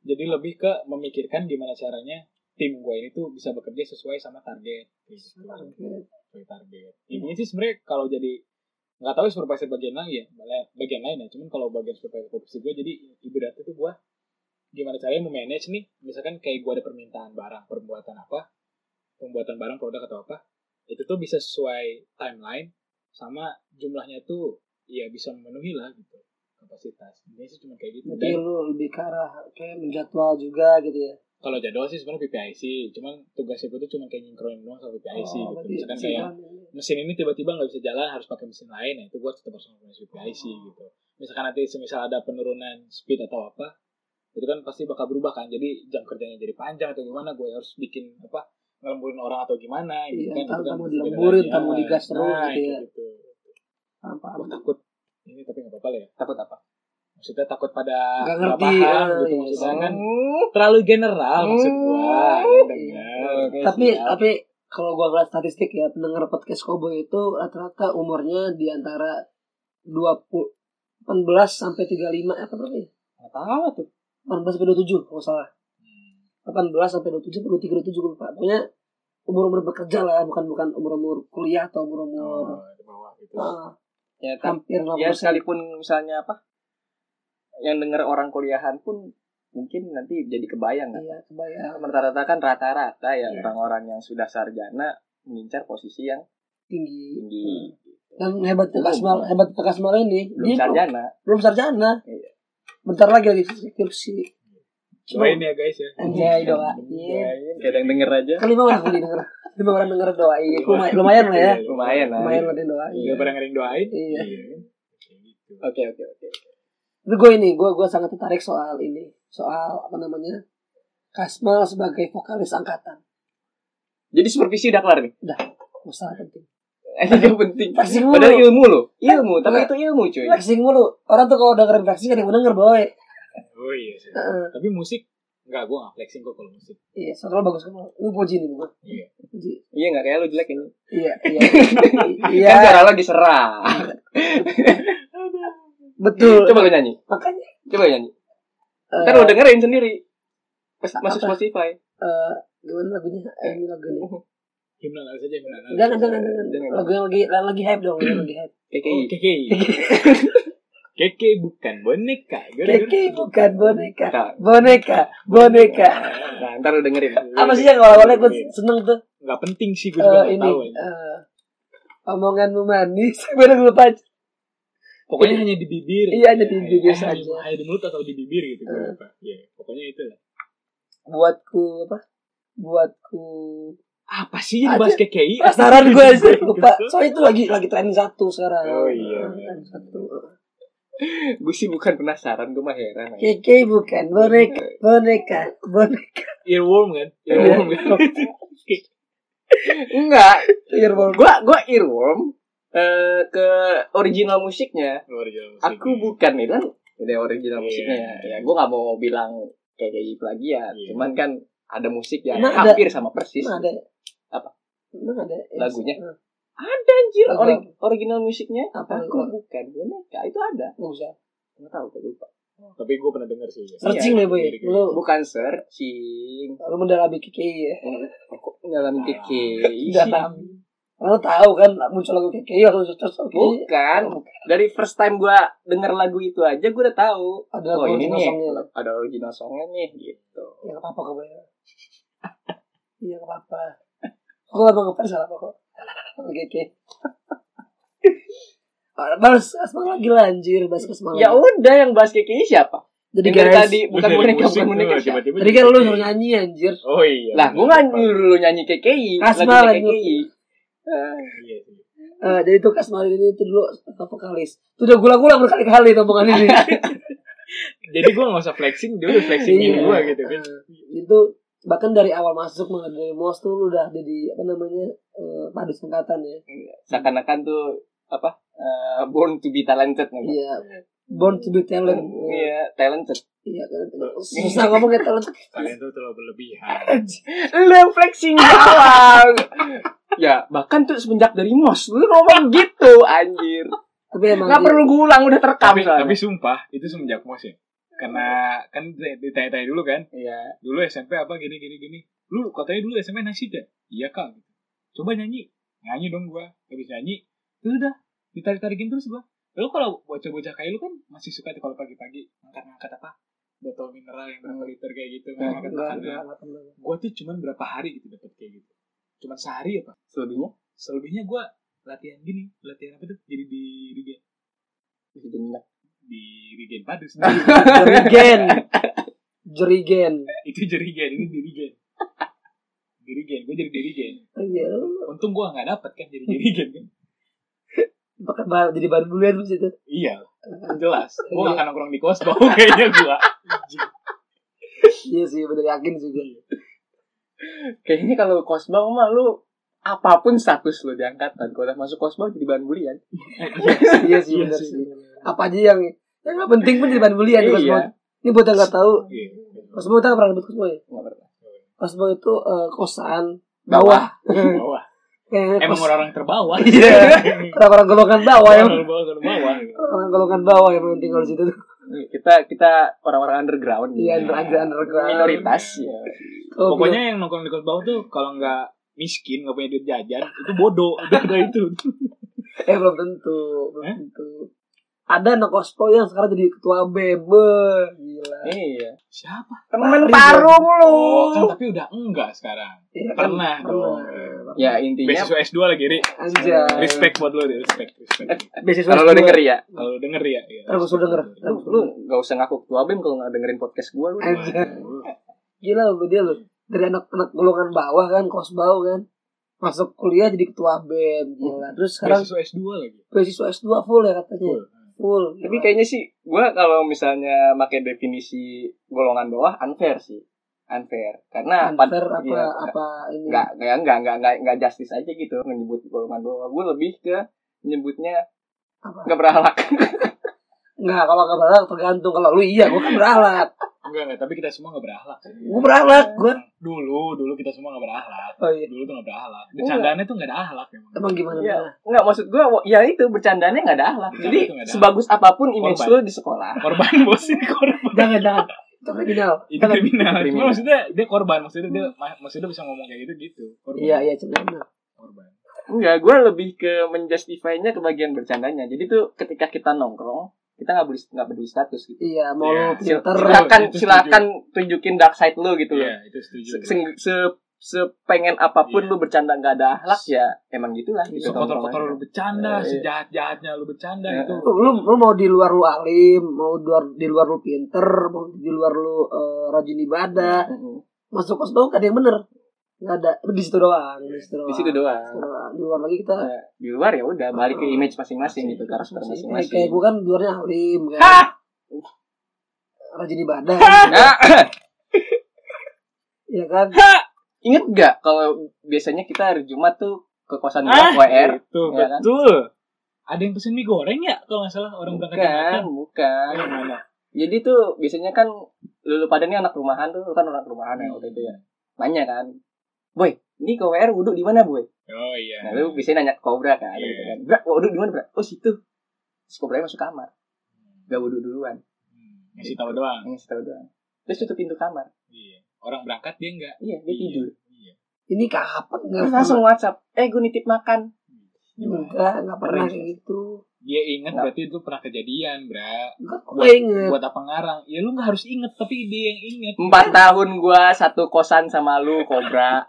Jadi lebih ke memikirkan gimana caranya tim gue ini tuh bisa bekerja sesuai sama target. Gitu. Sesuai target. Intinya sih sebenarnya kalau jadi nggak tahu supervisor bagian lain ya, bagian lain ya. Cuman kalau bagian supervisor posisi gue jadi ibaratnya tuh gue gimana caranya memanage nih misalkan kayak gue ada permintaan barang perbuatan apa pembuatan barang produk atau apa itu tuh bisa sesuai timeline sama jumlahnya tuh ya bisa memenuhi lah gitu kapasitas ini sih cuma kayak gitu berarti dan lu lebih ke arah kayak menjadwal juga gitu ya kalau jadwal sih sebenarnya PPIC cuman tugasnya gue tuh cuma kayak nyingkronin doang sama PPIC Oh, gitu berarti misalkan sih, kayak kan. mesin ini tiba-tiba nggak bisa jalan harus pakai mesin lain ya itu gue tetap harus menggunakan VPIC Oh. gitu misalkan nanti semisal ada penurunan speed atau apa itu kan pasti bakal berubah kan jadi jam kerjanya jadi panjang atau gimana gue harus bikin apa ngelemburin orang atau gimana gitu Iya, tahu kan itu kan kamu pasti beda dilemburin, lagi. kamu Ah, digas terus nah, gitu ya. kayak gitu. Paham, paham. Gua takut ini tapi nggak apa-apa lah ya takut apa maksudnya takut pada Nggak ngerti, paham ah, gitu iya. maksudnya kan terlalu general maksud gua ya Hmm. dengar Oke, Iya. tapi siap. tapi kalau gua ngeliat statistik ya pendengar podcast Cowboy itu rata-rata umurnya di antara 20 18 sampai 35 eh, apa berapa ya? nggak tahu tuh 18 sampai 27 kalau nggak salah. 18 Hmm. sampai 27 23 27 gue lupa. Pokoknya umur-umur bekerja lah bukan bukan umur-umur kuliah atau umur-umur Oh, di bawah gitu ah, ya tapi hampir 80 ya sekalipun misalnya apa yang denger orang kuliahan pun mungkin nanti jadi kebayang kan Iya, kebayang rata-rata kan rata-rata ya Iya. orang-orang yang sudah sarjana mengincar posisi yang tinggi. tinggi Dan hebat Kak Kasmal, Belum. hebat Kak Kasmal ini belum dia belum, sarjana belum sarjana. Iya. Bentar lagi lagi skripsi. doain ya guys ya Anjay Iya, doain. Doain, Iya, kayak ada yang denger aja Kan lima orang tadi denger. Lima orang denger Iya, doain. Iya, Lumayan, lumayan lah ya. lumayan lah Lumayan lah dia doain. Iya. Daripada ngering doain. Iya. kan? Kayak gitu. oke oke oke Tapi gue ini, gue gue sangat tertarik soal ini, soal apa namanya? Kasmal sebagai vokalis angkatan. jadi supervisi udah kelar nih Masalah penting. ini gak penting Flexing mulu. padahal ilmu loh ilmu tapi Enggak. itu ilmu cuy Flexing mulu. Orang tuh kalau dengerin flexing kan yang denger boy. Oh iya sih. Heeh. Tapi musik enggak gua enggak flexing kok kalau musik. Iya, soalnya bagus kamu. Lu puji nih gue. Iya. Puji. iya nggak kayak lu jelek ini Iya, iya. kan Iya, suara lo diserang betul. coba Kan lu nyanyi Makanya. coba lu nyanyi eh, ntar lu dengerin sendiri Pas Apa? masuk Spotify eh, gimana lagunya? Eh, ini lagu ini. Himne analis aja himne analis. Jangan, jangan, jangan. Lagu yang lagi, lagi hype dong, yang lagi hype. KKI Oh, KKI. Oh, Keke bukan boneka. Keke bukan boneka. Nah, Boneka, boneka. nah, ntar lu dengerin. Apa sih yang awal-awalnya gue seneng tuh? Gak penting sih gue Iya. juga Eh, nggak tahu. ini ya. eh, omonganmu manis, gue udah lupa. Pokoknya hanya di bibir. Iya, hanya di bibir saja. hanya- Eh. Hanya di mulut atau di bibir gitu. Gue lupa. Iya, pokoknya itu lah. Buatku apa? Buatku Apa sih yang bahas gitu. KKI? penasaran gue sih lupa. Soalnya itu lagi lagi trending satu sekarang. iya, Eh, Oh, iya. Trending satu. Iya. Gue sih bukan penasaran, gue mah heran. aja. Keke bukan boneka, Iya. boneka, boneka. Earworm kan? Earworm Earworm. kan? Enggak, Iya. Earworm. gua gua earworm eh, ke original musiknya. Luar jauh sih. Aku bukan bilang ini original Iya. musiknya. Ya gua nggak mau bilang kayak kayak plagiat. Iya. Cuman kan ada musik yang Emang ada- hampir sama persis. Emang ada Apa? Emang ada Lagunya? Eh, Anjir, Lagu ori- original musiknya Apa? aku bukan boneka itu ada. Nggak usah. Enggak tahu gua lupa. Tapi gue pernah denger sih. ya. Searching deh boy. gitu. Iya, Lu Bukan searching. lu mendalami Iya. Keke ya. Kok ngalamin keke Ah. Dalam. Lo tahu kan muncul lagu Keke langsung search oke. Bukan. Dari first time gua denger lagu itu aja gua udah tahu. Kan Ada Oh, lagu ini original nih. songnya. Ada original songnya nih gitu. Ya nggak apa-apa kok boy. Iya nggak apa-apa. Gue lama ngefans salah apa kok. Lagu Keke. Ah, Balas asma lagi lah anjir Balas asma lagi Ya udah yang bahas keke Oh, siapa? iya. Jadi Yang dari guys tadi Lu bukan dari boneka Iya, musik bukan lu boneka siapa? tiba-tiba Tadi kan jadi lu KKI. nyuruh nyanyi anjir Oh iya. Lah, gua nggak nyuruh lu nyanyi KKI, Asma lagunya lagi. KKI. Iya, iya. Eh, Jadi tuh Kasmal ini itu dulu apa vokalis Tuh udah gulang-gulang berkali-kali tuh omongan ini Jadi gue gak usah flexing, dia udah flexingin Iya. gue gitu kan. itu bahkan dari awal masuk malah dari mos tuh lu udah jadi apa namanya eh, padu singkatan ya Seakan-akan tuh apa? eh, born to be talented nih. iya born to be talent iya Iya, talented. iya kan susah ngomong ya talent Kalian tuh terlalu berlebihan. Lu yang flexing di awal. ya, bahkan tuh semenjak dari MOS lu ngomong gitu anjir. tapi emang iya. Nggak dia- perlu gue ulang udah terekam tapi, soalnya. tapi sumpah, itu semenjak mos ya. Karena kan ditanya-tanya dulu kan, Iya. dulu SMP apa gini gini gini. Lu katanya dulu SMP nasida. Iya kak. gitu. Coba nyanyi, nyanyi dong gua. Habis nyanyi, terus udah ditarik-tarikin terus gua. Lu kalau bocah-bocah kayak lu kan masih suka tuh kalau pagi-pagi ngangkat-ngangkat apa? Botol mineral yang berapa liter kayak gitu, Nggak- ngangkat nggak- makanan. nggak perlu. Gua tuh cuman berapa hari gitu dapet kayak gitu. Cuman sehari apa? Selebihnya Selebihnya gua latihan gini, latihan apa tuh? Jadi di Rigen, bisa jadi minat. di Rigen Padus. Di- jerigen jerigen itu jerigen ini dirigen dirigen gue jadi dirigen Oh iya lu untung gue nggak dapet kan jadi dirigen kan bakal bah- jadi bahan bulian di situ iya jelas gue gak akan nongkrong di kos bau kayaknya gue iya sih bener yakin sih gue Kayaknya kalau kosbang mah lu apapun status lu di angkatan kalau udah masuk kosbang jadi bahan bulian. iya sih Iya bener sih. sih apa aja yang yang nggak penting pun jadi bahan bulian Iya. Mas Boy. ini buat yang nggak tahu Iya. Mas Boy kita nggak pernah ribut Mas Boy Nggak pernah. Mas Boy itu eh, kosan Bawah. bawah bawah Kayak emang kos- orang-orang terbawah Iya. orang-orang golongan bawah ya orang bawah orang bawah orang golongan bawah yang penting kalau di situ Iya, Kita kita orang-orang underground. iya under under underground minoritas ya. Oh, pokoknya yang nongkrong di kos bawah tuh kalau nggak miskin nggak punya duit jajan itu bodoh udah udah itu belum- eh belum tentu belum Hah? tentu ada anak kospo yang sekarang jadi ketua BEM Beuh, gila Iya. siapa Temen Parung. parung lu. oh kan tapi udah enggak sekarang Iya kan? pernah dong Ya intinya beasiswa S 2 lagi ri anjay respect buat lo deh respect respect beasiswa kalau lu denger ya, Kalau lu denger ya. ya. Ntar gua suruh denger. lu, lu gak usah ngaku ketua BEM kalau gak dengerin podcast gua lu. anjay gila lu dia lu dari anak-anak golongan bawah kan kosbau kan masuk kuliah jadi ketua BEM gila terus sekarang Beasiswa S2 lagi. beasiswa S2 full ya katanya full Tapi kayaknya sih gua kalau misalnya pakai definisi golongan bawah unfair sih. Unfair. Karena pad- Unfair apa iya, apa ini nggak nggak nggak nggak nggak nggak justice aja gitu menyebut golongan bawah gue lebih ke menyebutnya Apa? nggak berahlak Enggak, kalau nggak beralat tergantung. Kalau lu iya, gua kan beralat. Enggak enggak, tapi kita semua enggak berahlak. sih. Gua beralat, gua. Dulu, dulu kita semua enggak berahlak. Oh iya. Dulu tuh enggak berahlak. Bercandaannya tuh enggak ada ahlak memang. Emang gimana? Iya. Bang? nggak maksud gue ya itu bercandanya nggak ada ahlak Bercanda jadi tuh Iya, nggak ada sebagus apapun image Korban. lu di sekolah Korban bos ini korban. Jangan, jangan. Itu kriminal. Itu kan- kriminal. Kriminal. Cuma maksudnya dia korban, maksudnya dia ma- maksudnya bisa ngomong kayak gitu gitu. Korban. Iya, iya, cuman. Korban. enggak gue lebih ke menjustify-nya ke bagian bercandanya jadi tuh ketika kita nongkrong kita nggak peduli nggak peduli status gitu Iya, mau Iya. lu Sil- pinter. Iya. silakan Itu setuju. silakan tunjukin dark side lu gitu loh Iya, itu setuju. Se- se- se- sepengen apapun Iya. lu bercanda nggak ada akhlak ya emang gitulah gitu Sekotor-kotor lu Iya, bercanda, iya. sejahat-jahatnya lu bercanda Iya. itu. Lu, lu, lu mau di luar lu alim, mau di luar, di luar lu pinter, mau di luar lu eh, rajin ibadah, Mm-mm. masuk kos doang gak ada yang bener. Gak ada, Lu di situ doang, di situ doang. di situ Di doang situ doang. Di luar lagi kita Eh, di luar ya udah balik ke image masing-masing gitu karakter kayak, kayak masing-masing gue kan di luarnya alim kan. Hah? Rajin ibadah. nah ya kan? inget gak kalau biasanya kita hari Jumat tuh ke kosan Ah, gua WR Itu Iya kan? betul. Ada yang pesen mie goreng ya kalau nggak salah orang berangkat bukan Iya. bukan Yang mana? jadi tuh biasanya kan lu, lu pada nih anak rumahan tuh lu kan orang rumahan ya waktu itu ya nanya kan boy ini ke WR wudhu di mana boy Oh iya. nah lu biasanya nanya ke kobra kan Iya. gitu kan bra wudhu di mana bra oh situ terus kobra masuk kamar gak wudhu duluan Hmm, Ngasih tahu doang. yang tahu doang terus tutup pintu kamar Iya. Orang berangkat dia enggak. iya dia Iya. tidur Iya. Ini kapan nggak terus pernah. langsung whatsapp eh gue nitip makan Enggak, nggak pernah Keren. kayak gitu. Dia ingat Nggak. berarti itu pernah kejadian, Bra. Enggak, gue inget. Buat apa ngarang? Ya lu nggak harus inget, tapi dia yang inget. empat tahun gua satu kosan sama lu kobra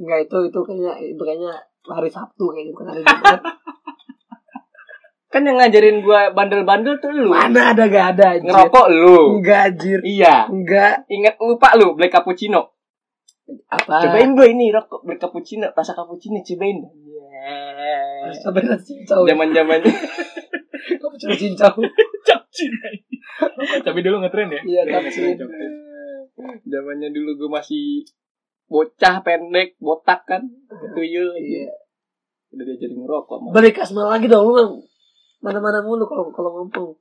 Enggak itu itu kayaknya itu kayaknya hari Sabtu kayaknya bukan hari Jumat. kan yang ngajarin gua bandel-bandel tuh lu Mana ada gak ada anjir. ngerokok lu Enggak anjir. iya Enggak. Ingat lupa lu black cappuccino. Apa? Cobain gue ini rokok black cappuccino, rasa cappuccino cobain. Cobain nasi cincau. Zaman-zaman Kamu coba cincau. Capcin. tapi dulu ngetren ya. Iya, Dulu capcin. ngetren, capcin. zamannya dulu gue masih bocah pendek, botak kan, tuyul Iya. Udah diajarin ngerokok. malah. Balik asma lagi dong lu Bang. Mana-mana mulu kalau kalau ngomong.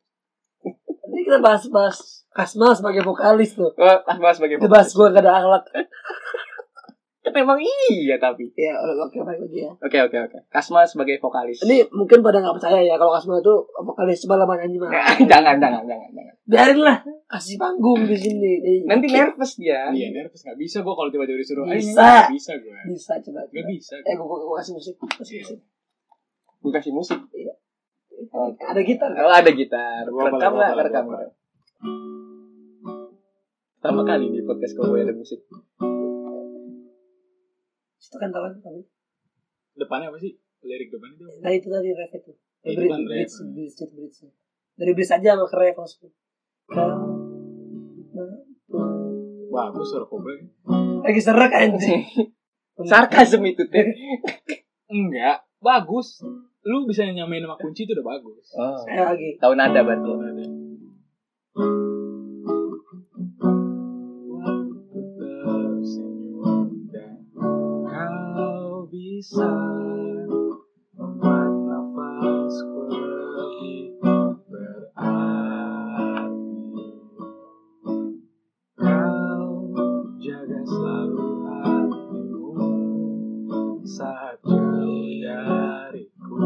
Ini kita bahas-bahas Kasmal sebagai vokalis tuh. Oh, ah, bahas bagaimana? Kita bahas gue gak ada akhlak. Kan emang iya tapi. Ya, oke baik lagi ya. Oke, oke, oke. Kasma sebagai vokalis. Ini mungkin pada nggak percaya ya kalau Kasmal itu vokalis coba lama nyanyi mah. jangan, jangan, jangan, jangan. Biarin lah kasih panggung di sini. Eh, Nanti nervous dia. Iya, nervous nggak bisa gue kalau tiba-tiba disuruh. "Ayo, Bisa. nggak bisa gue. bisa coba. Iya. Nggak bisa. Eh, gua, gua, gua kasih musik. Kasih musik. Gue kasih musik. Oke. Ada gitar kan? Oh, ada gitar. Gua apa, Rekam gua nggak? apa, gua Rekam apa. nggak? Pertama kali di podcast Cowboy ada musik. Itu kan tahu kami. Depannya apa sih? Lirik depannya itu. Nah itu tadi ref itu. Itu Bridge, kan bridge, ref. bridge, bridge, bridge. Dari bridge aja sama ke ref langsung. Kau- Wah, gue suara kobra. Lagi serak anjing. Sarkasm itu teh. Enggak, bagus. Lu bisa nyamain sama kunci itu udah bagus. Oh. Ayo lagi. Tahu nada berarti. Waktu tersenyum dan kau bisa membuat nafasku lebih berarti. Kau jaga selalu hatimu saat jauh dariku.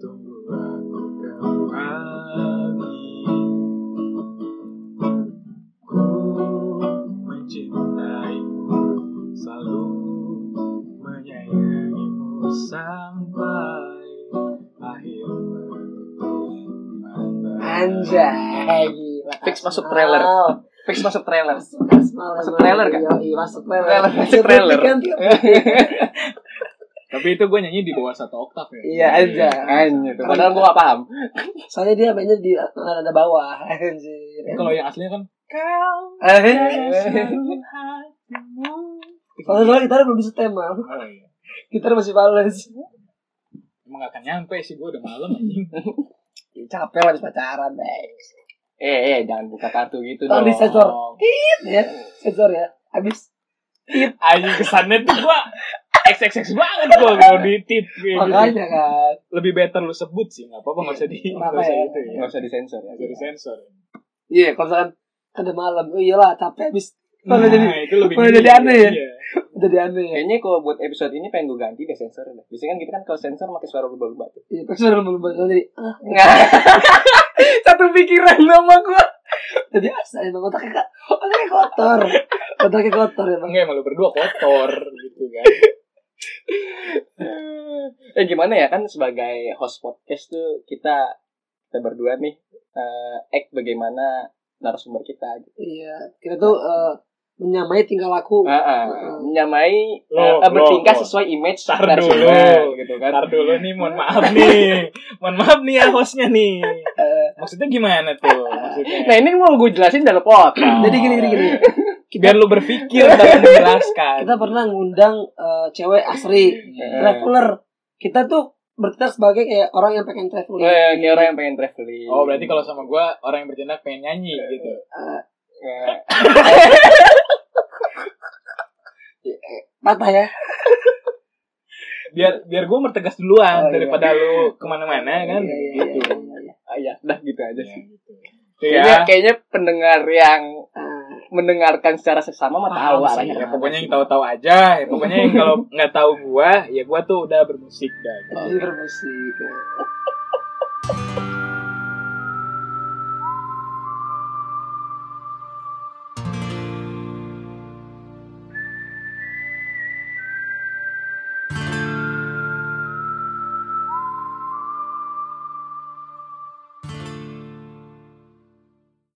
Tunggu aku kembali. Ku mencintaimu Selalu menyayangimu Sampai akhir menutup mata Anjay. gila. Fix masuk Kasmal. trailer. Fix masuk trailer. Masuk Kasmal, Masuk emang. trailer kan? Yoi, masuk trailer. Trailer, masuk Tiap trailer. detik kan, tiap detik. Tapi itu gue nyanyi di bawah satu oktav ya Iya aja. Anjir, tuh. padahal gua gak paham. Soalnya dia mainnya di ada bawah. Anjir. Kalau yang aslinya kan Kau Eh, selalu hatimu Soalnya soalnya eh. gitar belum disetemal. Oh iya Gitar masih balas. Emang gak akan nyampe sih gue udah malam anjing Capek lah habis pacaran, guys. Eh, eh, jangan buka kartu gitu Oh, dong. disensor. Ya, sensor ya. Habis Anjing kesannya tuh gue XXX banget gue Kalau ditit kayak gitu. makanya kan. lebih better lu sebut sih nggak apa-apa nggak usah di Nggak nggak apa-apa usah ya. itu ya Enggak usah disensor ya. nggak usah disensor Iya, kalau misalkan ada malam, oh iyalah capek habis. Malah jadi Nah, itu lebih malah gini. jadi aneh ya? Iya. jadi aneh ya. Kayaknya kalau buat episode ini pengen gue ganti deh sensor deh. Biasanya kan kita kan kalau sensor pakai suara berubah-ubah tuh. Iya, pas udah belum belum jadi ah, Satu pikiran sama gua. jadi asa emang otaknya ka- otaknya kotor. Otaknya kotor emang. enggak emang lu berdua kotor gitu kan Eh gimana ya kan sebagai host podcast tuh kita kita kita berdua nih eh, act bagaimana narasumber kita gitu. Iya, kita tuh eh, menyamai tingkah laku. Ah, ah, menyamai eh, Lo, eh, bertingkah lo, lo. sesuai image Tar dulu. gitu kan. Ntar dulu nih, mohon maaf nih. mohon maaf nih ya hostnya nih. Eh, Maksudnya gimana tuh? Maksudnya. Nah, ini mau gue jelasin dalam Hmm. podcast. jadi gini gini gini. biar lu berpikir dalam menjelaskan. Kita pernah ngundang eh, cewek asri, Iya. Eh, traveler. Kita tuh bertindak sebagai kayak orang yang pengen traveling. eh, kayak orang yang pengen traveling. Oh berarti kalau sama gue orang yang bertindak pengen nyanyi gitu. Eh, Eh, patah ya. Biar biar gue mertegas Oh, duluan iya. daripada lu kemana-mana kan. Iya, iya, gitu. iya, iya, iya. ah, ya, dah gitu aja sih. Tuh Kayaknya, ya. kayaknya pendengar yang Ah, mendengarkan secara sesama mah tahu Paham sih, arahnya ya, kemana. pokoknya yang tahu-tahu aja. Ya, pokoknya yang kalau nggak tahu gua, ya gua tuh udah bermusik dah. jadi bermusik.